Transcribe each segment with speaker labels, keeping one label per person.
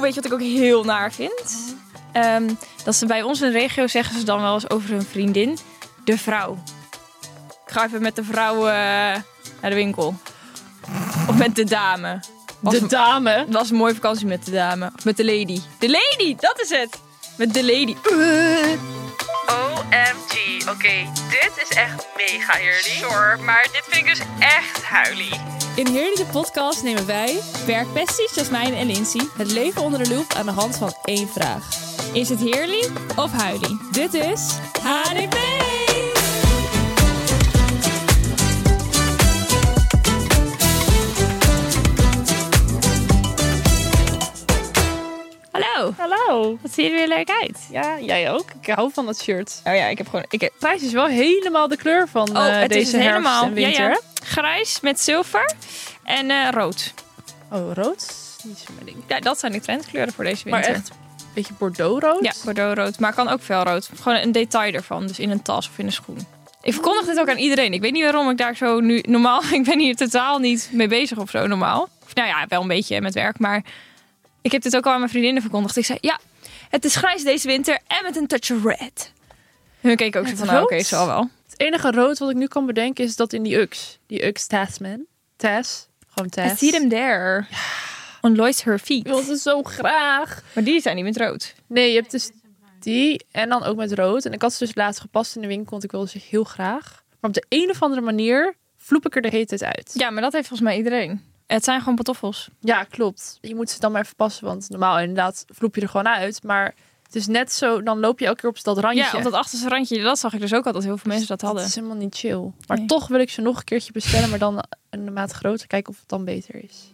Speaker 1: weet je wat ik ook heel naar vind? Ehm, dat ze bij ons in de regio zeggen ze dan wel eens over hun vriendin. De vrouw. Ik ga even met de vrouw eh, naar de winkel. Of met de dame. Was
Speaker 2: De
Speaker 1: een-
Speaker 2: dame.
Speaker 1: Het was een mooie vakantie met de dame. Of met de lady. De lady, dat is het. Met de lady.
Speaker 3: OMG. Oké, dit is echt mega eerlijk. Sorry, maar dit vind ik dus echt huilie.
Speaker 2: In Heerlijke Podcast nemen wij
Speaker 1: Werkpesties, Jasmijn en Lindsay.
Speaker 2: het leven onder de loep aan de hand van één vraag.
Speaker 1: Is het heerlijk of huilie?
Speaker 2: Dit is
Speaker 1: HDP! Hallo,
Speaker 2: Hallo.
Speaker 1: wat ziet er weer leuk uit?
Speaker 2: Ja, jij ook. Ik hou van dat shirt.
Speaker 1: Oh ja, ik heb gewoon... Ik heb...
Speaker 2: Prijs is wel helemaal de kleur van
Speaker 1: Oh,
Speaker 2: eh,
Speaker 1: het
Speaker 2: deze
Speaker 1: is het
Speaker 2: herfst
Speaker 1: helemaal.
Speaker 2: en winter.
Speaker 1: Ja, ja. Grijs met zilver en eh, rood.
Speaker 2: Oh, rood? Niet zo mijn ding.
Speaker 1: Ja, dat zijn de trendkleuren voor deze
Speaker 2: Maar
Speaker 1: winter.
Speaker 2: echt een beetje bordeauxrood?
Speaker 1: Ja, bordeauxrood. Maar kan ook felrood. Gewoon een detail ervan. Dus in een tas of in een schoen. Ik verkondig dit ook aan iedereen. Ik weet niet waarom ik daar zo nu... Normaal, ik ben hier totaal niet mee bezig of zo normaal. Of, nou ja, wel een beetje met werk. Maar ik heb dit ook al aan mijn vriendinnen verkondigd. Ik zei, ja, het is grijs deze winter en met een touch of red. Hun keken ook zo
Speaker 2: Met
Speaker 1: van, nou,
Speaker 2: rood?
Speaker 1: oké, zal wel.
Speaker 2: Het enige rood wat ik nu kan bedenken is dat in die UX. Die UX Tasman. Tess. Gewoon Tess.
Speaker 1: I see them there. On Lois her
Speaker 2: Ik
Speaker 1: feet.
Speaker 2: wil ze zo graag.
Speaker 1: Maar die zijn niet met rood.
Speaker 2: Nee, je hebt dus die en dan ook met rood. En ik had ze dus laatst gepast in de winkel, want ik wilde ze heel graag. Maar op de een of andere manier vloep ik er de hele tijd uit.
Speaker 1: Ja, maar dat heeft volgens mij iedereen. Het zijn gewoon pantoffels.
Speaker 2: Ja, klopt. Je moet ze dan maar even passen, want normaal inderdaad vloep je er gewoon uit. Maar het is net zo, dan loop je elke keer op dat randje.
Speaker 1: Ja, op dat achterste randje. Dat zag ik dus ook al dat heel veel mensen dat hadden.
Speaker 2: Dat is helemaal niet chill. Maar
Speaker 1: Nee.
Speaker 2: toch wil ik ze nog een keertje bestellen, maar dan een maat groter. Kijken of het dan beter is.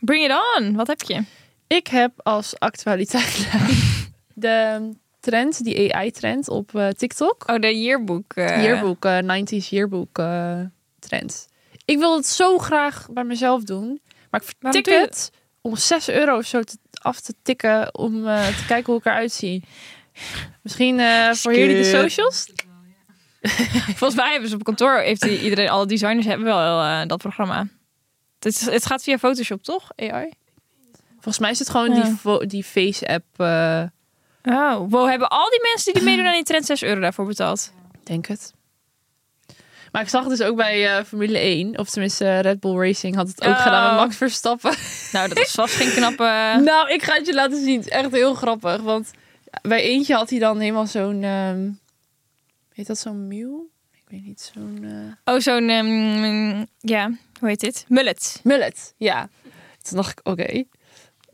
Speaker 1: Bring it on. Wat heb je?
Speaker 2: Ik heb als actualiteit de trend, die AI-trend op eh, TikTok.
Speaker 1: Oh, de yearbook. eh,
Speaker 2: yearbook, eh, 90s yearbook eh, trend. Ik wil het zo graag bij mezelf doen. Maar ik
Speaker 1: Waarom
Speaker 2: vertik
Speaker 1: doe je
Speaker 2: het om 6 euro of zo te, af te tikken om eh, te kijken hoe ik eruit zie. Misschien eh, voor
Speaker 1: Skip.
Speaker 2: jullie de socials?
Speaker 1: Volgens mij hebben ze op kantoor, heeft die- iedereen, alle designers hebben wel eh, dat programma. Het, is- het gaat via Photoshop, toch? AI?
Speaker 2: Volgens mij is het gewoon die,
Speaker 1: Ja.
Speaker 2: vo- die face-app. eh,
Speaker 1: Oh, wow. Hebben al die mensen die meedoen aan die trend 6 euro daarvoor betaald?
Speaker 2: denk het. Maar ik zag het dus ook bij eh, Formule 1. Of tenminste, eh, Red Bull Racing had het ook
Speaker 1: Oh.
Speaker 2: gedaan met Max Verstappen.
Speaker 1: Nou, dat is vast geen knappe...
Speaker 2: Nou, ik ga het je laten zien. Het is echt heel grappig. Want bij eentje had hij dan helemaal zo'n... ehm, heet dat zo'n mule? Ik weet niet, zo'n... eh,
Speaker 1: Oh, zo'n... ehm, ja, hoe heet dit? Mullet.
Speaker 2: Mullet, ja. Toen dacht ik, oké.
Speaker 1: Ik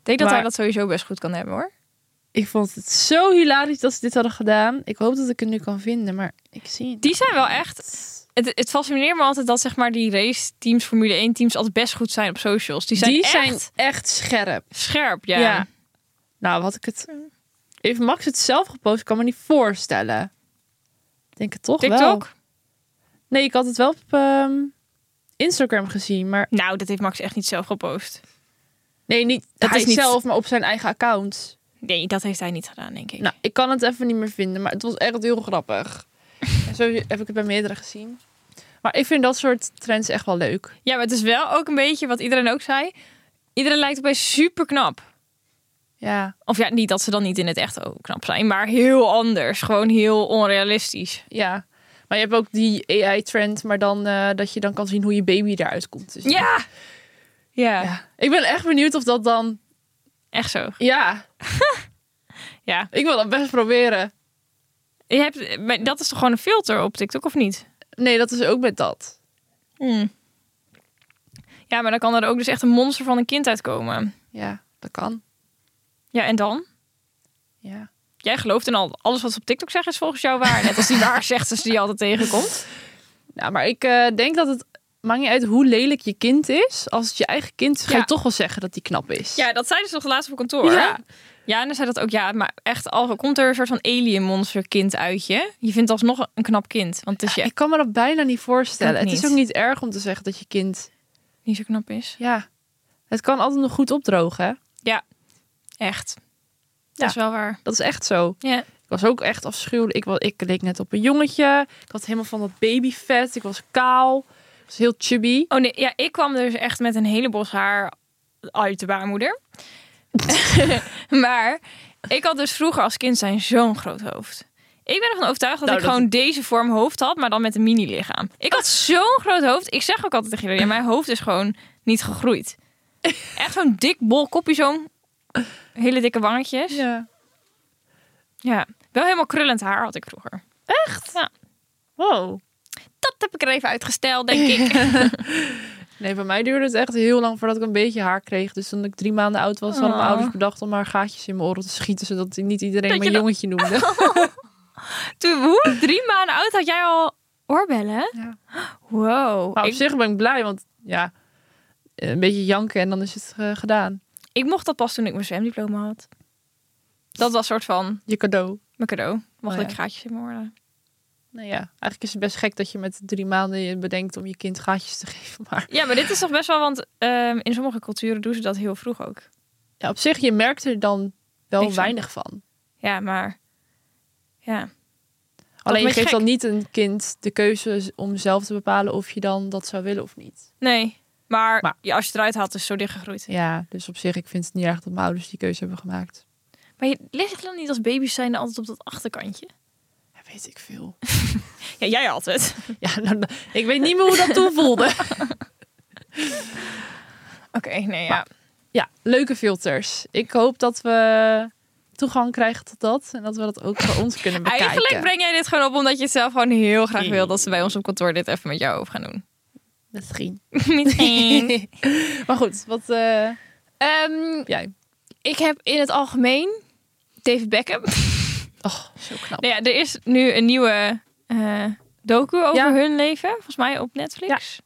Speaker 1: denk dat
Speaker 2: Maar-
Speaker 1: hij dat sowieso best goed kan hebben, hoor.
Speaker 2: Ik vond het zo hilarisch dat ze dit hadden gedaan. Ik hoop dat ik het nu kan vinden, maar ik zie het
Speaker 1: Die zijn wel echt...
Speaker 2: niet.
Speaker 1: Het, het fascineert me altijd dat zeg maar, die race-teams, Formule 1-teams... altijd best goed zijn op socials. Die zijn
Speaker 2: Die
Speaker 1: echt
Speaker 2: zijn echt scherp.
Speaker 1: scherp,
Speaker 2: Ja. Nou, had ik het... Heeft Max het zelf gepost? Ik kan me niet voorstellen. Ik denk het toch wel.
Speaker 1: TikTok?
Speaker 2: Nee, ik had het wel op ehm, Instagram gezien, maar...
Speaker 1: Nou, dat heeft Max echt niet zelf gepost.
Speaker 2: Nee, niet dat
Speaker 1: Hij
Speaker 2: is
Speaker 1: niet-
Speaker 2: zelf, maar op zijn eigen account.
Speaker 1: Nee, dat heeft hij niet gedaan, denk ik.
Speaker 2: Nou, ik kan het even niet meer vinden, maar het was echt heel grappig. en zo heb ik het bij meerdere gezien. Maar ik vind dat soort trends echt wel leuk.
Speaker 1: Ja, maar het is wel ook een beetje wat iedereen ook zei. Iedereen lijkt opeens super knap.
Speaker 2: Ja,
Speaker 1: Of ja, niet dat ze dan niet in het echt ook knap zijn, maar heel anders. Gewoon heel onrealistisch.
Speaker 2: ja. Maar je hebt ook die AI-trend, maar dan eh, dat je dan kan zien hoe je baby eruit komt. Dus
Speaker 1: Ja! Ja,
Speaker 2: ja. Ik ben echt benieuwd of dat dan...
Speaker 1: echt zo.
Speaker 2: Ja,
Speaker 1: Ja.
Speaker 2: ik wil dat best proberen.
Speaker 1: Je hebt, maar dat is toch gewoon een filter op TikTok, of niet?
Speaker 2: Nee, dat is ook met dat.
Speaker 1: Hmm. Ja, maar dan kan er ook dus echt een monster van een kind uitkomen.
Speaker 2: Ja, dat kan.
Speaker 1: Ja, en dan?
Speaker 2: Ja.
Speaker 1: Jij gelooft in al alles wat ze op TikTok zeggen is volgens jou waar. Net als die waarzegsters die je altijd tegenkomt.
Speaker 2: Nou, maar ik eh, denk dat het maakt niet uit hoe lelijk je kind is. Als het je eigen kind is, ga je
Speaker 1: Ja.
Speaker 2: toch wel zeggen dat die knap is.
Speaker 1: Ja, dat zeiden ze nog laatst op kantoor.
Speaker 2: Ja.
Speaker 1: Ja, en dan zei dat ook, ja, maar echt, al komt er een soort van alien monster kind uit je. Je vindt alsnog een knap kind, want het is je
Speaker 2: Ik kan me dat bijna niet voorstellen.
Speaker 1: Ook
Speaker 2: Het is
Speaker 1: niet.
Speaker 2: ook niet erg om te zeggen dat je kind...
Speaker 1: niet zo knap is.
Speaker 2: Ja, het kan altijd nog goed opdrogen. hè?
Speaker 1: Echt.
Speaker 2: Ja.
Speaker 1: Dat is wel waar.
Speaker 2: Dat is echt zo.
Speaker 1: Ja.
Speaker 2: Ik was ook echt afschuwelijk. Ik, wa- ik leek net op een jongetje. Ik had helemaal van dat babyvet. Ik was kaal. is heel chubby.
Speaker 1: Oh nee, ja, ik kwam dus echt met een hele bos haar uit de baarmoeder. maar ik had dus vroeger als kind zijn zo'n groot hoofd. Ik ben ervan overtuigd dat
Speaker 2: Nou,
Speaker 1: ik
Speaker 2: dat-
Speaker 1: gewoon deze vorm hoofd had, maar dan met een mini-lichaam. Ik had zo'n groot hoofd. Ik zeg ook altijd tegen iedereen, mijn hoofd is gewoon niet gegroeid. Echt zo'n dik bol kopje, zo'n hele dikke wangetjes. Ja.
Speaker 2: Ja.
Speaker 1: wel helemaal krullend haar had ik vroeger. Echt? Ja,
Speaker 2: Wow.
Speaker 1: dat heb ik er even uitgesteld, denk ik.
Speaker 2: Nee, bij mij duurde het echt heel lang voordat ik een beetje haar kreeg. Dus toen ik drie maanden oud was, hadden mijn
Speaker 1: Oh.
Speaker 2: ouders bedacht om maar gaatjes in mijn oren te schieten. Zodat niet iedereen
Speaker 1: Dat je
Speaker 2: mijn
Speaker 1: dat- Oh,
Speaker 2: jongetje noemde.
Speaker 1: Toen, hoe? Drie maanden oud had jij al oorbellen?
Speaker 2: Ja.
Speaker 1: Wow.
Speaker 2: Maar Nou, op
Speaker 1: ik,
Speaker 2: zich ben ik blij, want ja, een beetje janken en dan is het eh, gedaan.
Speaker 1: ik mocht dat pas toen ik mijn zwemdiploma had. Dat was soort van
Speaker 2: Je cadeau.
Speaker 1: mijn cadeau. Mocht
Speaker 2: Oh ja.
Speaker 1: ik gaatjes in mijn oren.
Speaker 2: Nou ja, eigenlijk is het best gek dat je met drie maanden je bedenkt om je kind gaatjes te geven. Maar
Speaker 1: Ja, maar dit is toch best wel, want ehm, in sommige culturen doen ze dat heel vroeg ook.
Speaker 2: ja, op zich, je merkt er dan wel
Speaker 1: Niks van.
Speaker 2: weinig van.
Speaker 1: Ja, maar ja.
Speaker 2: Alleen
Speaker 1: beetje
Speaker 2: je geeft
Speaker 1: gek.
Speaker 2: dan niet een kind de keuze om zelf te bepalen of je dan dat zou willen of niet.
Speaker 1: Nee. Maar,
Speaker 2: Maar-
Speaker 1: Ja, als je het eruit haalt, is het zo dichtgegroeid.
Speaker 2: Ja, dus op zich, ik vind het niet erg dat mijn ouders die keuze hebben gemaakt.
Speaker 1: Maar je ligt dan niet als baby's zijn altijd op dat achterkantje?
Speaker 2: Ja, weet ik veel.
Speaker 1: Ja, jij altijd.
Speaker 2: Ja, nou, nou, ik weet niet meer hoe dat toen voelde.
Speaker 1: Oké, nee, ja.
Speaker 2: Ja, leuke filters. Ik hoop dat we toegang krijgen tot dat en dat we dat ook voor ons kunnen bekijken.
Speaker 1: Eigenlijk breng jij dit gewoon op omdat je het zelf gewoon heel graag wil dat ze bij ons op kantoor dit even met jou over gaan doen.
Speaker 2: Misschien.
Speaker 1: Niet
Speaker 2: maar goed, wat eh, jij?
Speaker 1: Ehm, ik heb in het algemeen David Beckham.
Speaker 2: Oh, zo knap.
Speaker 1: Nou ja, er is nu een nieuwe eh, docu over
Speaker 2: Ja.
Speaker 1: hun leven, volgens mij op Netflix.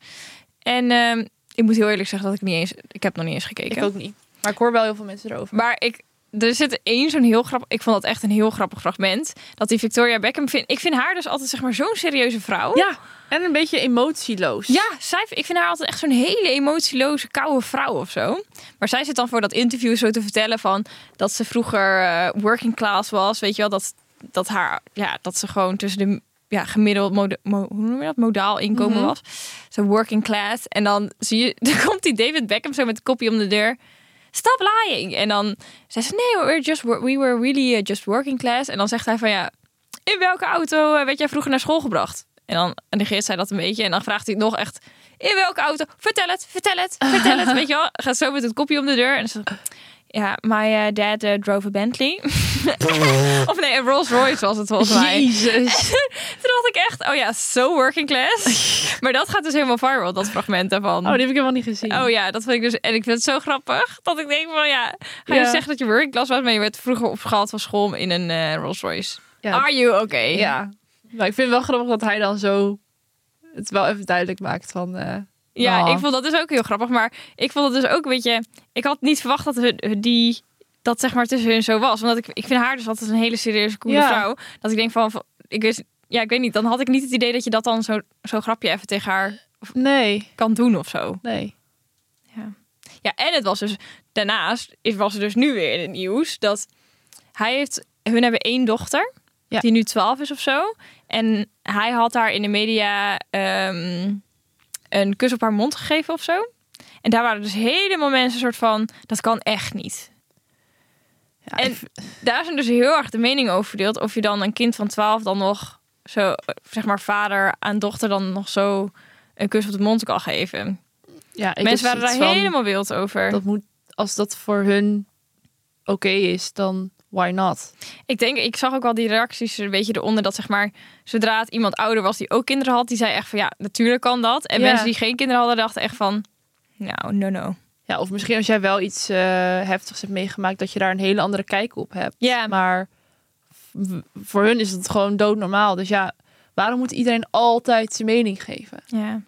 Speaker 1: En ehm, ik moet heel eerlijk zeggen dat ik niet eens, ik heb nog niet eens gekeken.
Speaker 2: Ik ook niet. Maar ik hoor wel heel veel mensen erover.
Speaker 1: Maar ik, er zit één zo'n heel grappig. Ik vond dat echt een heel grappig fragment. Dat die Victoria Beckham vind. Ik vind haar dus altijd zeg maar zo'n serieuze vrouw.
Speaker 2: Ja, en een beetje emotieloos.
Speaker 1: Ja, zij, ik vind haar altijd echt zo'n hele emotieloze, koude vrouw of zo. Maar zij zit dan voor dat interview zo te vertellen van dat ze vroeger eh, working class was. Weet je wel, dat, dat, haar, ja, dat ze gewoon tussen de ja, gemiddeld mode- mo- hoe noem je dat? modaal inkomen
Speaker 2: Mhm.
Speaker 1: was. Zo working class. En dan zie je, dan komt die David Beckham zo met de kopje om de deur. Stop lying. En dan zei ze, nee, we're just, wor- we were really eh, just working class. En dan zegt hij van, ja, in welke auto eh, werd jij vroeger naar school gebracht? En dan negeert zij dat een beetje. En dan vraagt hij nog echt, in welke auto? Vertel het, vertel het, vertel het. Weet je wel, gaat zo met het kopje om de deur. En ze zegt, ja, my eh, dad eh, drove a Bentley. of nee, een Rolls Royce was het volgens mij.
Speaker 2: Jezus.
Speaker 1: Toen dacht ik echt, oh ja, so working class. maar dat gaat dus helemaal viral, dat fragment daarvan.
Speaker 2: Oh, die heb ik helemaal niet gezien.
Speaker 1: Oh ja, dat vind ik dus. En ik vind het zo grappig dat ik denk van ja, ga je
Speaker 2: Ja.
Speaker 1: zeggen dat je working class was, maar je werd vroeger opgehaald van school in een eh, Rolls Royce.
Speaker 2: Ja.
Speaker 1: Are you okay?
Speaker 2: Ja. Maar ik vind het wel grappig dat hij dan zo het wel even duidelijk maakt van... eh,
Speaker 1: Ja,
Speaker 2: Ah.
Speaker 1: ik vond dat dus ook heel grappig. Maar ik vond het dus ook, weet je, ik had niet verwacht dat hun- hun die dat zeg maar tussen hun zo was. Omdat ik, ik vind haar dus altijd een hele serieuze, coole
Speaker 2: Ja.
Speaker 1: vrouw. Dat ik denk van, van- ik wist, ja, ik weet niet, dan had ik niet het idee dat je dat dan zo- zo'n grapje even tegen haar
Speaker 2: nee,
Speaker 1: kan doen of zo.
Speaker 2: nee.
Speaker 1: Ja, en het was dus daarnaast is, was er dus nu weer in het nieuws dat hij heeft hun hebben één dochter
Speaker 2: Ja.
Speaker 1: die nu 12 is of zo en hij had haar in de media ehm, een kus op haar mond gegeven of zo. En daar waren dus helemaal mensen soort van dat kan echt niet.
Speaker 2: Ja,
Speaker 1: En
Speaker 2: ik-
Speaker 1: daar zijn dus heel erg de mening over verdeeld of je dan een kind van 12 dan nog zo eh, zeg maar vader aan dochter dan nog zo een kus op de mond kan geven.
Speaker 2: ja, ik
Speaker 1: mensen
Speaker 2: heb
Speaker 1: waren daar
Speaker 2: zoiets van,
Speaker 1: helemaal wild over.
Speaker 2: Dat moet, als dat voor hun oké is, dan why not?
Speaker 1: Ik denk, ik zag ook wel die reacties er een beetje eronder dat zeg maar, zodra het iemand ouder was die ook kinderen had, die zei echt van ja, natuurlijk kan dat. En
Speaker 2: Ja.
Speaker 1: mensen die geen kinderen hadden, dachten echt van, nou, no, no.
Speaker 2: Ja, of misschien als jij wel iets eh, heftigs hebt meegemaakt, dat je daar een hele andere kijk op hebt.
Speaker 1: Ja.
Speaker 2: Maar v- voor hun is het gewoon doodnormaal. Dus ja, waarom moet iedereen altijd zijn mening geven?
Speaker 1: Ja,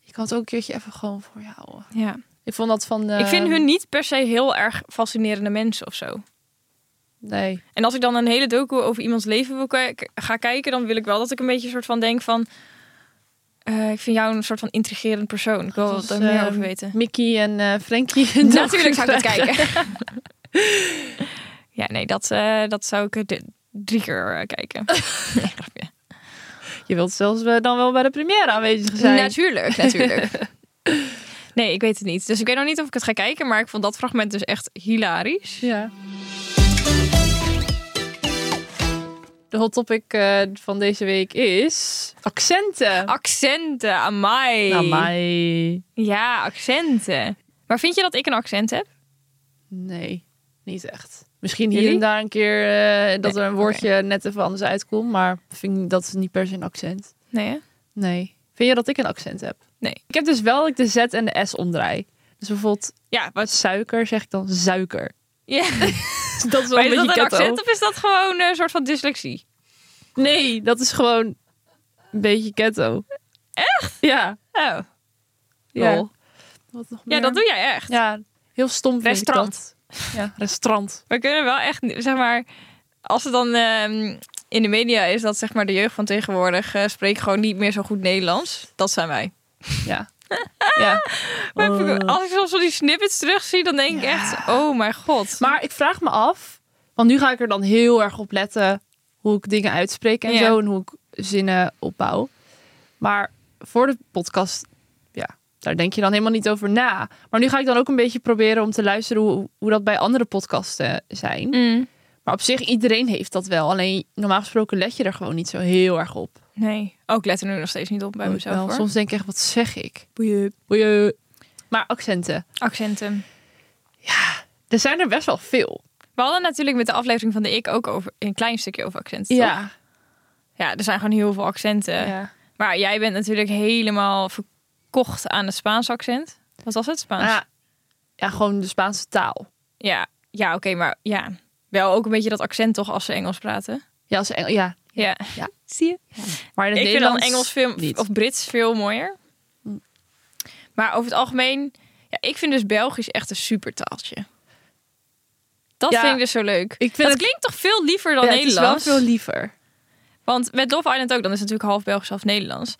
Speaker 2: Je kan het ook een keertje even gewoon voor je houden.
Speaker 1: ja.
Speaker 2: Ik vond dat van... eh,
Speaker 1: ik vind hun niet per se heel erg fascinerende mensen of zo.
Speaker 2: Nee.
Speaker 1: En als ik dan een hele docu over iemands leven wil kijk- ga kijken, dan wil ik wel dat ik een beetje een soort van denk van, eh, ik vind jou een soort van intrigerend persoon. Ik wil
Speaker 2: Dat was,
Speaker 1: daar meer
Speaker 2: ehm,
Speaker 1: over weten.
Speaker 2: Mickey en eh Frankie.
Speaker 1: Natuurlijk zou ik dat kijken. ja, nee, dat, eh, dat zou ik eh, d- drie keer eh, kijken. Nee, grapje.
Speaker 2: Je wilt zelfs eh, dan wel bij de première aanwezig zijn.
Speaker 1: Natuurlijk, natuurlijk. nee, ik weet het niet. Dus ik weet nog niet of ik het ga kijken, maar ik vond dat fragment dus echt hilarisch.
Speaker 2: Ja. De hot topic eh, van deze week is accenten.
Speaker 1: Accenten, amai.
Speaker 2: Nou, mij.
Speaker 1: Ja, accenten. Maar vind je dat ik een accent heb?
Speaker 2: Nee, niet echt. Misschien hier
Speaker 1: Jullie?
Speaker 2: en daar een keer eh, dat
Speaker 1: Nee,
Speaker 2: er een woordje net even anders uitkomt, maar vind ik, dat is niet per se een accent.
Speaker 1: Nee, hè?
Speaker 2: Nee. Vind je dat ik een accent heb?
Speaker 1: Nee.
Speaker 2: Ik heb dus wel dat ik de Z en de S omdraai. Dus bijvoorbeeld
Speaker 1: Ja, wat...
Speaker 2: suiker zeg ik dan suiker.
Speaker 1: Ja.
Speaker 2: Dat is wel
Speaker 1: Maar
Speaker 2: een
Speaker 1: is dat een
Speaker 2: beetje ghetto.
Speaker 1: accent of is dat gewoon een soort van dyslexie?
Speaker 2: Nee, dat is gewoon een beetje ghetto. Echt? Ja.
Speaker 1: Oh,
Speaker 2: Ja.
Speaker 1: lol.
Speaker 2: Wat
Speaker 1: Ja,
Speaker 2: nog meer?
Speaker 1: dat doe jij echt.
Speaker 2: Ja, heel stom vind ik dat.
Speaker 1: Restaurant.
Speaker 2: Ja, restaurant.
Speaker 1: We kunnen wel echt, zeg maar, als het dan ehm, in de media is dat zeg maar de jeugd van tegenwoordig eh spreekt gewoon niet meer zo goed Nederlands. Dat zijn wij.
Speaker 2: Ja. ja.
Speaker 1: Maar
Speaker 2: Oh.
Speaker 1: ik- Als ik soms wel die snippets terugzie, dan denk ik echt, oh mijn god.
Speaker 2: Maar ik vraag me af, want nu ga ik er dan heel erg op letten hoe ik dingen uitspreek en
Speaker 1: Ja.
Speaker 2: zo en hoe ik zinnen opbouw. Maar voor de podcast, ja, daar denk je dan helemaal niet over na. Maar nu ga ik dan ook een beetje proberen om te luisteren hoe, hoe dat bij andere podcasten zijn.
Speaker 1: Mm,
Speaker 2: Maar op zich, iedereen heeft dat wel. Alleen normaal gesproken let je er gewoon niet zo heel erg op.
Speaker 1: nee, ook let er nu nog steeds niet op bij
Speaker 2: Oh, Wel,
Speaker 1: mezelf hoor.
Speaker 2: Soms denk ik echt, wat zeg ik?
Speaker 1: Boeien.
Speaker 2: Boeie. Maar accenten.
Speaker 1: Accenten.
Speaker 2: Er zijn er best wel veel.
Speaker 1: We hadden natuurlijk met de aflevering van de ik ook over een klein stukje over accenten. toch?
Speaker 2: Ja.
Speaker 1: ja, er zijn gewoon heel veel accenten.
Speaker 2: ja.
Speaker 1: Maar jij bent natuurlijk helemaal verkocht aan het Spaans accent. Wat was het Spaans?
Speaker 2: Ah, ja, gewoon de Spaanse taal.
Speaker 1: Ja, ja oké, maar ja. Wel ook een beetje dat accent toch als ze Engels praten.
Speaker 2: Ja, als Engel, ja.
Speaker 1: Ja.
Speaker 2: Ja.
Speaker 1: Zie je?
Speaker 2: Maar in het
Speaker 1: ik vind dan
Speaker 2: Nederlands
Speaker 1: Engels film
Speaker 2: niet.
Speaker 1: of Brits veel mooier. Maar over het algemeen, ja, ik vind dus Belgisch echt een super taaltje. Dat
Speaker 2: Ja,
Speaker 1: vind ik dus zo leuk.
Speaker 2: vind
Speaker 1: dat
Speaker 2: het-
Speaker 1: klinkt toch veel liever dan
Speaker 2: Ja, het is wel
Speaker 1: Nederlands?
Speaker 2: veel liever.
Speaker 1: Want met Love Island ook, dan is het natuurlijk half Belgisch, half Nederlands.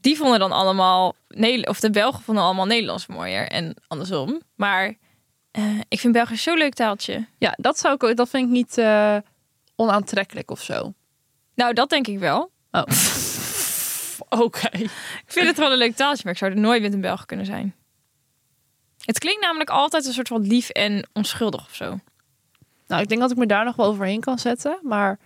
Speaker 1: Die vonden dan allemaal, Nederla- of de Belgen vonden allemaal Nederlands mooier en andersom. Maar eh, ik vind Belgisch zo'n leuk taaltje.
Speaker 2: Ja, dat, zou ik, ook- dat vind ik niet eh, onaantrekkelijk of zo.
Speaker 1: Nou, dat denk ik wel.
Speaker 2: Oh. Oké.
Speaker 1: Ik vind het wel een leuk taaltje, maar ik zou er nooit met een Belg kunnen zijn. Het klinkt namelijk altijd een soort van lief en onschuldig of zo.
Speaker 2: Nou, ik denk dat ik me daar nog wel overheen kan zetten. Maar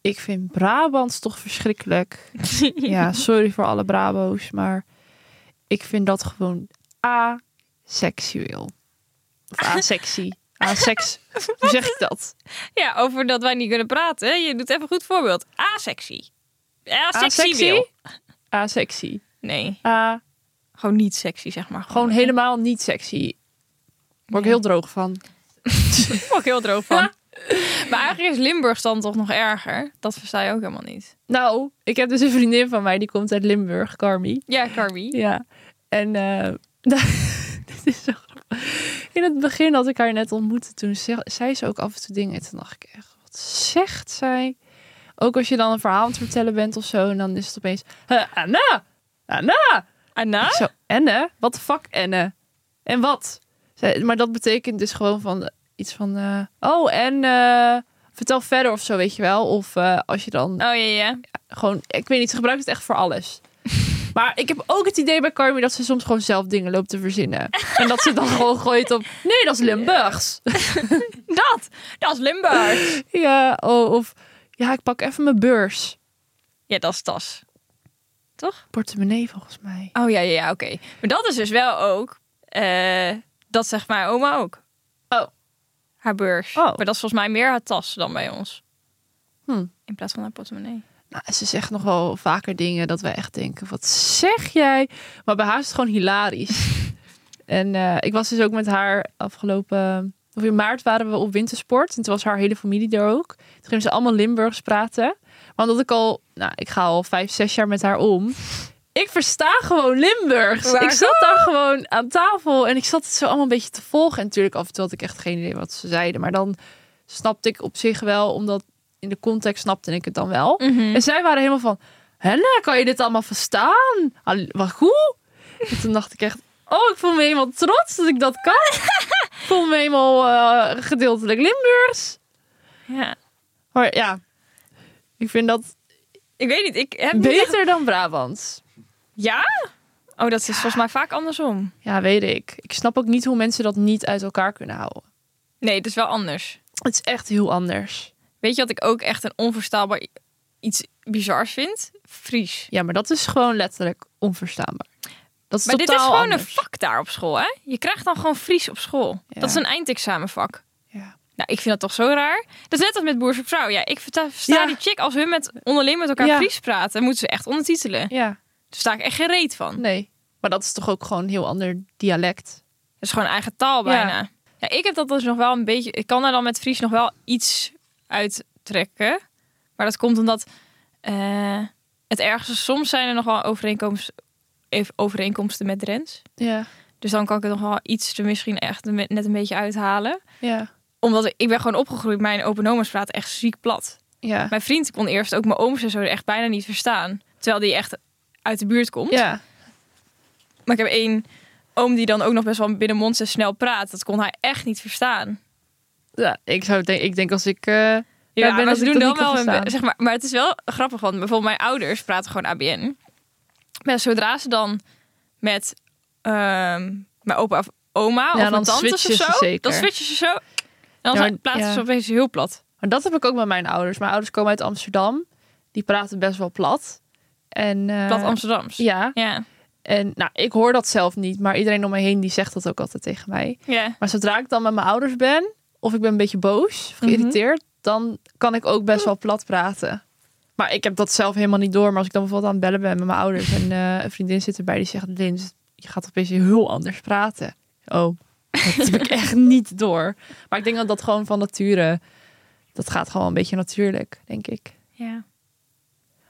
Speaker 2: ik vind Brabants toch verschrikkelijk. ja, sorry voor alle Brabo's. Maar ik vind dat gewoon aseksueel. Of asexy. Asex. Hoe zeg ik dat?
Speaker 1: Ja, over dat wij niet kunnen praten. Je doet even een goed voorbeeld. Asexy. Asexy
Speaker 2: Asexy?
Speaker 1: wil.
Speaker 2: Asexy.
Speaker 1: Nee,
Speaker 2: A
Speaker 1: gewoon niet sexy, zeg maar.
Speaker 2: Gewoon helemaal niet sexy. Word ik heel droog van.
Speaker 1: Ik word ik heel droog van. Maar eigenlijk is Limburg dan toch nog erger. Dat versta je ook helemaal niet.
Speaker 2: Nou, ik heb dus een vriendin van mij die komt uit Limburg, Carmi.
Speaker 1: Ja, Carmi.
Speaker 2: Ja. En eh, dit is zo grappig. In het begin had ik haar net ontmoet. Toen ze- zei ze ook af en toe dingen. En toen dacht ik echt, wat zegt zij? Ook als je dan een verhaal aan het vertellen bent of zo. En dan is het opeens, eh, Anna! Anna!
Speaker 1: Anna?
Speaker 2: Ik Zo, enne? Wat de fuck, enne? En wat? Zij- maar dat betekent dus gewoon van eh, iets van... eh, oh, en eh, vertel verder of zo, weet je wel. Of eh, als je dan
Speaker 1: Oh ja, ja.
Speaker 2: gewoon... Ik weet niet, ze gebruikt het echt voor alles. Maar ik heb ook het idee bij Carmi dat ze soms gewoon zelf dingen loopt te verzinnen. En dat ze dan gewoon gooit op... Nee, dat is Limburgs.
Speaker 1: Dat! Dat is Limburg.
Speaker 2: Ja, oh, of... Ja, ik pak even mijn beurs.
Speaker 1: Ja, dat is tas. Toch?
Speaker 2: Portemonnee volgens mij.
Speaker 1: Oh ja, ja, ja, oké. Maar dat is dus wel ook... eh, dat zegt mijn oma ook.
Speaker 2: Oh.
Speaker 1: Haar beurs.
Speaker 2: Oh.
Speaker 1: Maar dat is volgens mij meer haar tas dan bij ons.
Speaker 2: Hm.
Speaker 1: In plaats van haar portemonnee.
Speaker 2: Nou, ze zegt nog wel vaker dingen dat wij echt denken: wat zeg jij? Maar bij haar is het gewoon hilarisch. en eh, ik was dus ook met haar afgelopen. Of in maart waren we op wintersport. En toen was haar hele familie daar ook. Toen gingen ze allemaal Limburgs praten. Maar omdat ik al, nou, ik ga al vijf, zes jaar met haar om. Ik versta gewoon Limburgs.
Speaker 1: Waar-
Speaker 2: Ik zat daar gewoon aan tafel en ik zat het zo allemaal een beetje te volgen. En natuurlijk, af en toe had ik echt geen idee wat ze zeiden. Maar dan snapte ik op zich wel, omdat in de context snapte ik het dan wel.
Speaker 1: Mhm.
Speaker 2: En zij waren helemaal van, Helle, kan je dit allemaal verstaan? Al- Wat goed. En toen dacht ik echt, oh, ik voel me helemaal trots dat ik dat kan. ik voel me helemaal eh, gedeeltelijk Limburgs.
Speaker 1: Ja.
Speaker 2: Maar ja, ik vind dat...
Speaker 1: Ik weet niet. Ik heb niet echt-
Speaker 2: Beter dan Brabants.
Speaker 1: Ja? Oh, dat is volgens mij vaak andersom.
Speaker 2: Ja, weet ik. Ik snap ook niet hoe mensen dat niet uit elkaar kunnen houden.
Speaker 1: Nee, het is wel anders.
Speaker 2: Het is echt heel anders.
Speaker 1: Weet je wat ik ook echt een onverstaanbaar i- iets bizars vind? Fries.
Speaker 2: Ja, maar dat is gewoon letterlijk onverstaanbaar. Dat is
Speaker 1: Maar dit is
Speaker 2: totaal
Speaker 1: gewoon een
Speaker 2: anders.
Speaker 1: vak daar op school, hè? Je krijgt dan gewoon Fries op school.
Speaker 2: Ja.
Speaker 1: Dat is een eindexamenvak.
Speaker 2: Ja.
Speaker 1: Nou, ik vind dat toch zo raar. Dat is net als met Boer zoekt Vrouw. Ja, ik verta- versta
Speaker 2: Ja.
Speaker 1: die chick als hun met, onderling met elkaar
Speaker 2: Ja.
Speaker 1: Fries praten. Moeten ze echt ondertitelen. Daar
Speaker 2: Ja,
Speaker 1: sta ik echt geen reet van.
Speaker 2: nee. Maar dat is toch ook gewoon een heel ander dialect.
Speaker 1: Dat is gewoon eigen taal bijna. Ja. ik heb dat dus nog wel een beetje. Ik kan er dan met Fries nog wel iets uit trekken. Maar dat komt omdat eh, het ergste. Soms zijn er nog wel overeenkomsten, overeenkomsten met Drents.
Speaker 2: Ja,
Speaker 1: Dus dan kan ik het nog wel iets er misschien echt een be- net een beetje uithalen.
Speaker 2: ja,
Speaker 1: Omdat ik- ik ben gewoon opgegroeid. Mijn open omens praten echt ziek plat.
Speaker 2: ja.
Speaker 1: Mijn vriend kon eerst ook mijn ooms en zo echt bijna niet verstaan. Terwijl die echt uit de buurt komt.
Speaker 2: Ja,
Speaker 1: Maar ik heb één oom die dan ook nog best wel binnenmonds en snel praat. Dat kon hij echt niet verstaan.
Speaker 2: ja ik, zou denk, ik denk als ik... eh,
Speaker 1: Ja,
Speaker 2: ben
Speaker 1: maar
Speaker 2: dat
Speaker 1: ze
Speaker 2: ik
Speaker 1: doen
Speaker 2: dat
Speaker 1: dan
Speaker 2: niet kan
Speaker 1: wel hun
Speaker 2: verstaan.
Speaker 1: be- zeg maar, maar het is wel grappig, want bijvoorbeeld mijn ouders praten gewoon ABN. Maar zodra ze dan met ehm, mijn opa of oma
Speaker 2: Ja,
Speaker 1: of mijn
Speaker 2: dan
Speaker 1: tantes of
Speaker 2: switchen
Speaker 1: zo,
Speaker 2: ze zeker.
Speaker 1: dan switchen ze zo. En dan
Speaker 2: Ja,
Speaker 1: zijn-
Speaker 2: maar-
Speaker 1: plaatsen
Speaker 2: ja.
Speaker 1: ze opeens heel plat.
Speaker 2: Maar dat heb ik ook met mijn ouders. Mijn ouders komen uit Amsterdam. Die praten best wel plat. En, eh,
Speaker 1: Plat Amsterdams. Ja.
Speaker 2: Ja.
Speaker 1: Ja.
Speaker 2: En nou, ik hoor dat zelf niet. Maar iedereen om me heen die zegt dat ook altijd tegen mij. Maar zodra ik dan met mijn ouders ben. Of ik ben een beetje boos. Of geïrriteerd. Dan kan ik ook best wel plat praten. Maar ik heb dat zelf helemaal niet door. Maar als ik dan bijvoorbeeld aan het bellen ben met mijn ouders. En eh, een vriendin zit erbij die zegt. Lin, je gaat opeens heel anders praten. Oh, dat heb ik echt niet door. Maar ik denk dat dat gewoon van nature... Dat gaat gewoon een beetje natuurlijk, denk ik.
Speaker 1: ja.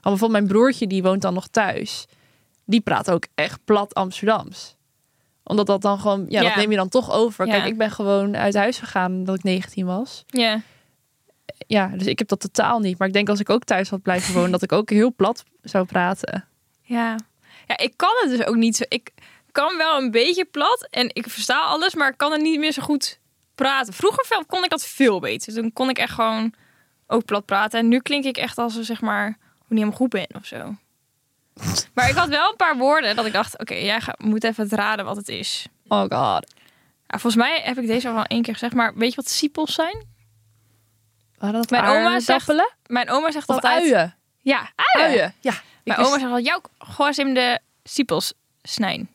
Speaker 2: Al bijvoorbeeld mijn broertje, die woont dan nog thuis. Die praat ook echt plat Amsterdams. Omdat dat dan gewoon... Ja,
Speaker 1: Ja.
Speaker 2: dat neem je dan toch over.
Speaker 1: Ja.
Speaker 2: Kijk, ik ben gewoon uit huis gegaan dat ik 19 was.
Speaker 1: Ja.
Speaker 2: Ja, dus ik heb dat totaal niet. Maar ik denk als ik ook thuis had blijven wonen... dat ik ook heel plat zou praten.
Speaker 1: Ja. Ja, ik kan het dus ook niet zo. Ik kan wel een beetje plat en ik versta alles, maar ik kan er niet meer zo goed praten. Vroeger veel- kon ik dat veel beter. Toen kon ik echt gewoon ook plat praten. En nu klink ik echt als een, zeg maar, hoe niet helemaal goed ben of zo. Maar ik had wel een paar woorden dat ik dacht, oké, jij gaat, moet even het raden wat het is.
Speaker 2: Oh god.
Speaker 1: Ja, volgens mij heb ik deze al wel één keer gezegd, maar weet je wat siepels zijn?
Speaker 2: Waren dat
Speaker 1: Mijn oma zegt
Speaker 2: aardappelen?
Speaker 1: Mijn oma zegt
Speaker 2: Of
Speaker 1: altijd...
Speaker 2: uien?
Speaker 1: Ja,
Speaker 2: Uien, ja.
Speaker 1: Mijn
Speaker 2: Ik
Speaker 1: oma zegt al, jouw goors in de siepels snijden.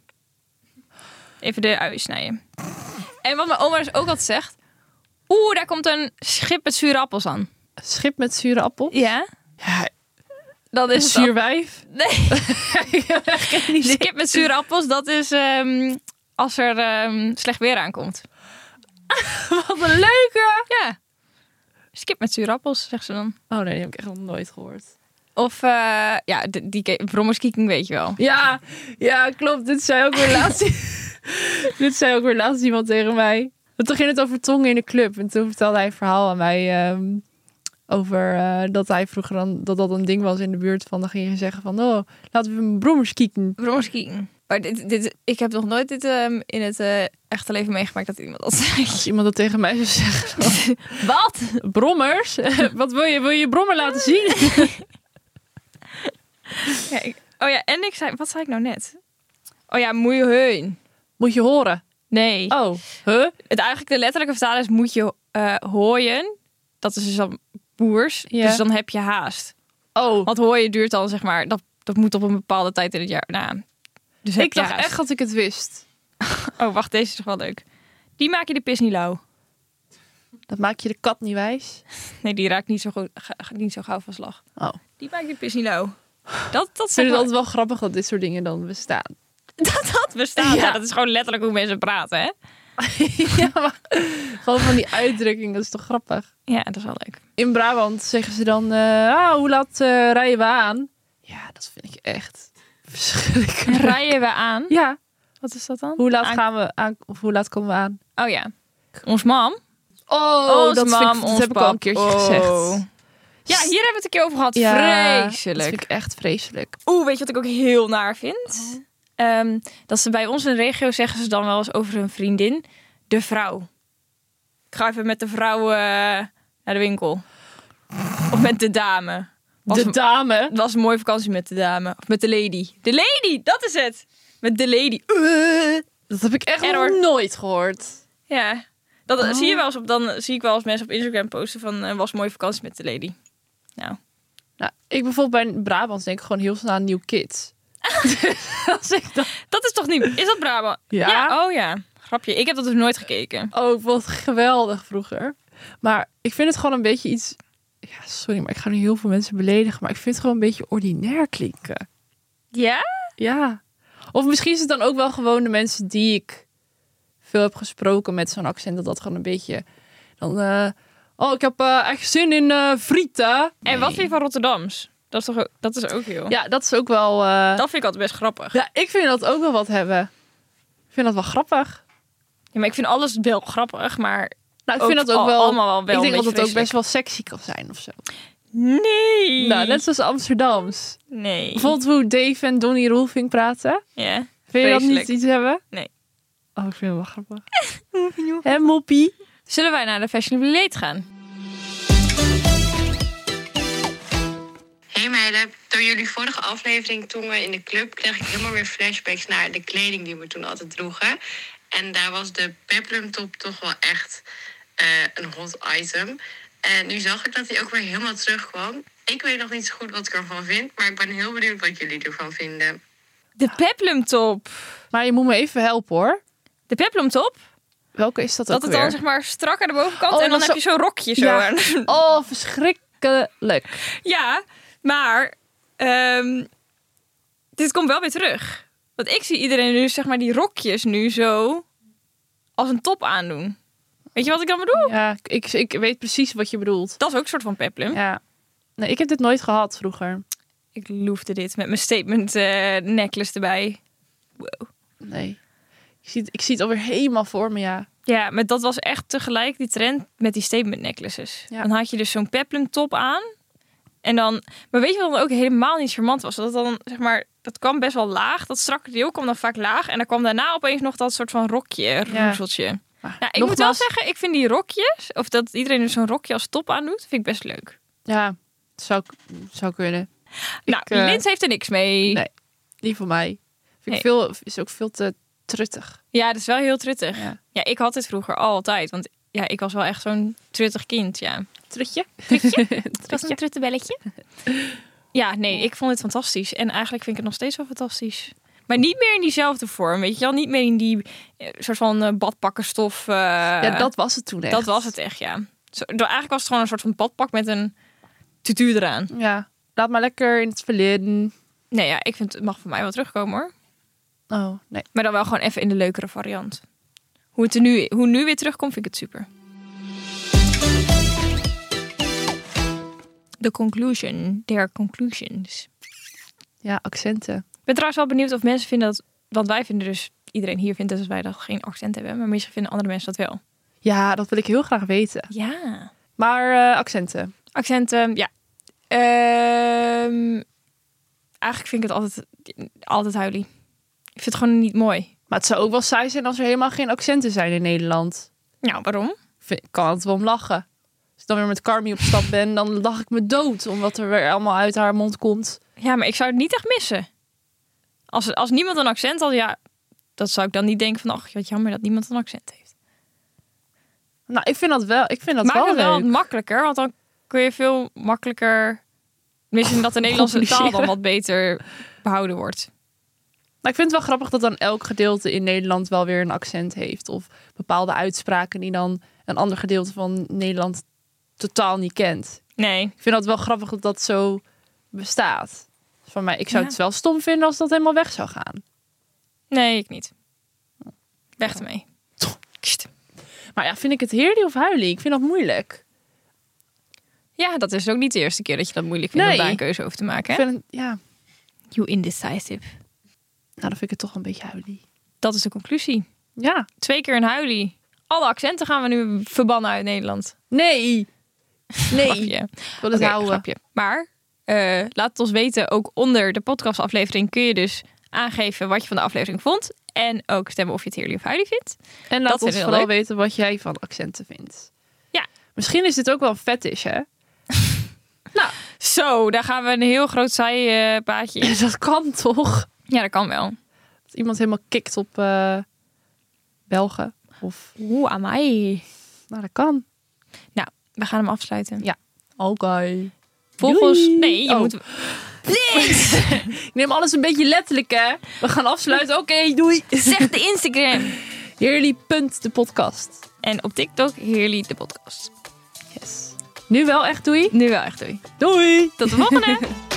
Speaker 1: Even de ui snijden. En wat mijn oma dus ook altijd zegt. Oeh, daar komt een schip met zure appels aan.
Speaker 2: wist- Schip met zure appel?
Speaker 1: Ja?
Speaker 2: Ja,
Speaker 1: Dat
Speaker 2: een
Speaker 1: is het
Speaker 2: zuur
Speaker 1: al.
Speaker 2: wijf?
Speaker 1: Nee,
Speaker 2: Ik heb echt geen idee.
Speaker 1: schip met zure appels, dat is ehm, als er ehm, slecht weer aankomt.
Speaker 2: Wat een leuke!
Speaker 1: Ja. Schip met zure appels, zegt ze dan.
Speaker 2: Oh nee, die heb ik echt nog nooit gehoord.
Speaker 1: Of, eh, ja, d- die ke- brommerskieking weet je wel.
Speaker 2: Ja, ja, klopt. Dit zei ook weer laatst. dit zei ook weer laatst iemand tegen mij. Want toen ging het over tongen in de club. En toen vertelde hij een verhaal aan mij ehm, over eh, dat hij vroeger dan, dat dat een ding was in de buurt. Van dan ging je zeggen van, oh, laten we een brommers kieken.
Speaker 1: Brommerskieking. Maar dit, dit, ik heb nog nooit dit ehm, in het eh, echte leven meegemaakt dat iemand dat zegt.
Speaker 2: Als iemand dat tegen mij zou zeggen,
Speaker 1: Wat?
Speaker 2: brommers? Wat wil je? Wil je je brommer laten zien?
Speaker 1: Ja, ik- oh ja, en ik zei, wat zei ik nou net? Oh ja, moet je heen.
Speaker 2: Moet je horen.
Speaker 1: Nee.
Speaker 2: Oh, huh?
Speaker 1: Het eigenlijk de letterlijke vertaling is moet je eh hooien. Dat is dus dan boers.
Speaker 2: Ja.
Speaker 1: Dus dan heb je haast.
Speaker 2: Oh.
Speaker 1: Want hooien duurt dan zeg maar, dat, dat moet op een bepaalde tijd in het jaar. Nou, dus heb
Speaker 2: Ik
Speaker 1: je
Speaker 2: dacht
Speaker 1: haast.
Speaker 2: echt dat ik het wist.
Speaker 1: Oh wacht, deze is toch wel leuk. Die maak je de pis niet lauw.
Speaker 2: Dat maak je de kat niet wijs.
Speaker 1: Nee, die raakt niet zo, goed, ga- ga- niet zo gauw van slag.
Speaker 2: Oh.
Speaker 1: Die maak je de pis niet lauw. Dat, dat,
Speaker 2: Ik vind
Speaker 1: zeg
Speaker 2: het
Speaker 1: maar-
Speaker 2: altijd wel grappig dat dit soort dingen dan bestaan.
Speaker 1: dat, dat bestaat. Ja.
Speaker 2: Ja.
Speaker 1: dat is gewoon letterlijk hoe mensen praten, hè?
Speaker 2: ja, maar gewoon van die uitdrukking, dat is toch grappig.
Speaker 1: Ja, dat is wel leuk.
Speaker 2: In Brabant zeggen ze dan, eh, ah, hoe laat eh, rijden we aan? Ja, dat vind ik echt verschrikkelijk.
Speaker 1: Rijden we aan?
Speaker 2: Ja,
Speaker 1: Wat is dat dan?
Speaker 2: hoe laat
Speaker 1: Aan-
Speaker 2: gaan we aan, of hoe laat komen we aan?
Speaker 1: Oh ja. Ons mam.
Speaker 2: Oh,
Speaker 1: Ons
Speaker 2: dat, vind
Speaker 1: mam,
Speaker 2: ik, dat
Speaker 1: ons
Speaker 2: heb ik al een
Speaker 1: pap.
Speaker 2: keertje
Speaker 1: Oh.
Speaker 2: gezegd.
Speaker 1: Ja, hier hebben we het een keer over gehad.
Speaker 2: Ja, Dat
Speaker 1: Vreselijk.
Speaker 2: vind ik echt vreselijk.
Speaker 1: Oeh, weet je wat ik ook heel naar vind? Ehm, dat ze bij ons in de regio zeggen ze dan wel eens over hun vriendin. De vrouw. Ik ga even met de vrouw eh, naar de winkel. Of met de dame. Was
Speaker 2: de
Speaker 1: een-
Speaker 2: dame.
Speaker 1: Het was een mooie vakantie met de dame. Of met de lady. De lady, dat is het. Met de lady. Eh.
Speaker 2: Dat heb ik echt
Speaker 1: Error.
Speaker 2: nog nooit gehoord.
Speaker 1: Ja. Dat
Speaker 2: Oh.
Speaker 1: eh, zie je wel eens op, dan eh, zie ik wel eens mensen op Instagram posten van eh, was een mooie vakantie met de lady. Nou,
Speaker 2: Nou, ik bijvoorbeeld bij Brabant denk ik gewoon heel snel aan New Kids. Als ik dan
Speaker 1: dat is toch niet. Is dat Brabant?
Speaker 2: Ja.
Speaker 1: oh ja. Grapje. Ik heb dat dus nooit gekeken.
Speaker 2: Oh, wat geweldig vroeger. Maar ik vind het gewoon een beetje iets. Ja, sorry, maar ik ga nu heel veel mensen beledigen. Maar ik vind het gewoon een beetje ordinair klinken.
Speaker 1: Ja?
Speaker 2: Ja. Of misschien is het dan ook wel gewoon de mensen die ik veel heb gesproken met zo'n accent. Dat dat gewoon een beetje. Dan. eh, oh, ik heb eh, echt zin in eh frieten.
Speaker 1: En wat vind je van Rotterdams? Dat is toch ook, dat is ook heel.
Speaker 2: Ja, dat is ook wel. eh,
Speaker 1: Dat vind ik altijd best grappig.
Speaker 2: Ja, ik vind dat ook wel wat hebben. Ik vind dat wel grappig.
Speaker 1: Ja, maar ik vind alles wel grappig, maar
Speaker 2: Nou, ik
Speaker 1: Ook
Speaker 2: vind dat ook
Speaker 1: al-
Speaker 2: wel.
Speaker 1: allemaal wel wel
Speaker 2: ik denk
Speaker 1: een
Speaker 2: dat het
Speaker 1: beetje
Speaker 2: ook best wel sexy kan zijn of zo.
Speaker 1: nee.
Speaker 2: Nou, net zoals Amsterdams.
Speaker 1: nee.
Speaker 2: Bijvoorbeeld hoe Dave en Donnie Roelving praten.
Speaker 1: Ja.
Speaker 2: Vind je dat
Speaker 1: Vreselijk.
Speaker 2: niet iets hebben?
Speaker 1: Nee.
Speaker 2: Oh, ik vind het wel grappig. Hé, moppie.
Speaker 1: Zullen wij naar de Fashionably Late gaan?
Speaker 4: Hey meiden, door jullie vorige aflevering toen we in de club kreeg ik helemaal weer flashbacks naar de kleding die we toen altijd droegen. En daar was de peplum top toch wel echt eh, een hot item. En nu zag ik dat die ook weer helemaal terugkwam. Ik weet nog niet zo goed wat ik ervan vind, maar ik ben heel benieuwd wat jullie ervan vinden.
Speaker 1: De peplumtop.
Speaker 2: Maar je moet me even helpen hoor.
Speaker 1: De peplumtop?
Speaker 2: Welke is dat,
Speaker 1: Dat
Speaker 2: ook
Speaker 1: het dan
Speaker 2: weer?
Speaker 1: zeg maar strak aan de bovenkant
Speaker 2: Oh,
Speaker 1: en dan
Speaker 2: dat
Speaker 1: heb je
Speaker 2: zo-
Speaker 1: zo'n rokje zo
Speaker 2: Ja.
Speaker 1: aan.
Speaker 2: Oh, verschrikkelijk.
Speaker 1: Ja, maar ehm, dit komt wel weer terug. Want ik zie iedereen nu zeg maar die rokjes nu zo als een top aandoen. Weet je wat ik dan bedoel?
Speaker 2: Ja, ik, ik weet precies wat je bedoelt.
Speaker 1: Dat is ook een soort van peplum.
Speaker 2: Ja. Nee, ik heb dit nooit gehad vroeger.
Speaker 1: Ik loefde dit met mijn statement eh, necklace erbij.
Speaker 2: Nee. Ik zie, het- ik zie het alweer helemaal voor me, ja.
Speaker 1: Ja, maar dat was echt tegelijk die trend met die statement necklaces.
Speaker 2: Ja.
Speaker 1: Dan had je dus zo'n peplum top aan. En dan, maar weet je wat dan ook helemaal niet charmant was? Dat dan, zeg maar, dat kwam best wel laag. Dat strakke deel kwam dan vaak laag. En dan kwam daarna opeens nog dat soort van rokje, roezeltje.
Speaker 2: Maar
Speaker 1: Nou, ik moet wel
Speaker 2: nogmaals-
Speaker 1: zeggen, ik vind die rokjes, of dat iedereen er zo'n rokje als top aan doet, vind ik best leuk.
Speaker 2: Ja, zou, ik- zou kunnen.
Speaker 1: nou,
Speaker 2: eh,
Speaker 1: Lins heeft er niks mee.
Speaker 2: Nee. Die voor mij. Vind
Speaker 1: Nee.
Speaker 2: ik veel, is ook veel te truttig.
Speaker 1: Ja, dat is wel heel truttig. Ja.
Speaker 2: Ja.
Speaker 1: ik had dit vroeger altijd, want ja, ik was wel echt zo'n truttig kind, ja.
Speaker 2: Trutje?
Speaker 1: Dat was een truttebelletje. ja, nee, ik vond het fantastisch. En eigenlijk vind ik het nog steeds wel fantastisch. Maar niet meer in diezelfde vorm, weet je wel. Niet meer in die eh, soort van eh, badpakkenstof. eh,
Speaker 2: Ja, dat was het toen echt.
Speaker 1: dat was het echt, ja. Zo, eigenlijk was het gewoon een soort van badpak met een tutu eraan.
Speaker 2: Ja, laat maar lekker in het verleden.
Speaker 1: Nee, ja, ik vind het mag voor mij wel terugkomen hoor.
Speaker 2: Oh, nee.
Speaker 1: Maar dan wel gewoon even in de leukere variant. Hoe het er nu, hoe nu weer terugkomt, vind ik het super. De conclusion, their conclusions.
Speaker 2: Ja, accenten.
Speaker 1: Ik ben trouwens wel benieuwd of mensen vinden dat... Want wij vinden dus, iedereen hier vindt dat wij dat geen accent hebben. Maar misschien vinden andere mensen dat wel.
Speaker 2: Ja, dat wil ik heel graag weten.
Speaker 1: Ja.
Speaker 2: Maar eh, accenten.
Speaker 1: Accenten, ja. Ehm, eigenlijk vind ik het altijd, altijd huilie. Ik vind het gewoon niet mooi.
Speaker 2: Maar het zou ook wel saai zijn als er helemaal geen accenten zijn in Nederland.
Speaker 1: Nou, waarom?
Speaker 2: Ik vind- ik kan altijd wel om lachen. Als ik dan weer met Carmi op stap ben, dan lach ik me dood. Omdat er weer allemaal uit haar mond komt.
Speaker 1: Ja, maar ik zou het niet echt missen. Als, als niemand een accent had, ja, dat zou ik dan niet denken van, ach, wat jammer dat niemand een accent heeft.
Speaker 2: Nou, ik vind dat wel, ik vind dat
Speaker 1: Maak
Speaker 2: wel
Speaker 1: het wel
Speaker 2: leuk.
Speaker 1: wat makkelijker, want dan kun je veel makkelijker, misschien dat de Nederlandse taal dan
Speaker 2: Compliceren.
Speaker 1: wat beter behouden wordt.
Speaker 2: Maar ik vind het wel grappig dat dan elk gedeelte in Nederland wel weer een accent heeft. Of bepaalde uitspraken die dan een ander gedeelte van Nederland totaal niet kent.
Speaker 1: Nee,
Speaker 2: Ik vind dat wel grappig dat dat zo bestaat. Dus Van mij, ik zou
Speaker 1: Ja.
Speaker 2: het wel stom vinden als dat helemaal weg zou gaan.
Speaker 1: nee, ik niet. Weg ermee. Kst.
Speaker 2: Maar ja, vind ik het heerlijk of huilie? Ik vind dat moeilijk.
Speaker 1: Ja, dat is ook niet de eerste keer dat je dat moeilijk vindt
Speaker 2: Nee.
Speaker 1: om daar een keuze over te maken.
Speaker 2: Ik
Speaker 1: Hè?
Speaker 2: vind het- ja, nou
Speaker 1: You indecisive.
Speaker 2: dan vind ik het toch een beetje huilie.
Speaker 1: Dat is de conclusie.
Speaker 2: Ja.
Speaker 1: Twee keer een huilie. Alle accenten gaan we nu verbannen uit Nederland.
Speaker 2: Nee. Nee.
Speaker 1: Grapje.
Speaker 2: Ik wil het
Speaker 1: Oké,
Speaker 2: houden.
Speaker 1: grapje. Maar eh, laat het ons weten. Ook onder de podcastaflevering kun je dus aangeven wat je van de aflevering vond. En ook stemmen of je het heerlijk of huilie vindt.
Speaker 2: En laat
Speaker 1: Dat vind
Speaker 2: ons
Speaker 1: ik
Speaker 2: vooral
Speaker 1: leuk.
Speaker 2: weten wat jij van accenten vindt.
Speaker 1: Ja.
Speaker 2: Misschien is dit ook wel een fetish, hè? nou,
Speaker 1: Zo, daar gaan we een heel groot zijpaadje in.
Speaker 2: Dus Dat kan toch?
Speaker 1: Ja, dat kan wel.
Speaker 2: Dat iemand helemaal kikt op eh, Belgen. Of,
Speaker 1: Oeh, aan mij.
Speaker 2: nou, dat kan.
Speaker 1: Nou, we gaan hem afsluiten.
Speaker 2: Oké.
Speaker 1: Volgens.
Speaker 2: Doei.
Speaker 1: Nee, je
Speaker 2: Oh.
Speaker 1: moet.
Speaker 2: Ik neem alles een beetje letterlijk, hè. We gaan afsluiten. Oké, doei.
Speaker 1: Zeg de Instagram.
Speaker 2: Heerly punt de podcast.
Speaker 1: En op TikTok, Heerly de podcast.
Speaker 2: Yes. Nu wel echt doei.
Speaker 1: Nu wel echt doei.
Speaker 2: Doei.
Speaker 1: Tot de volgende!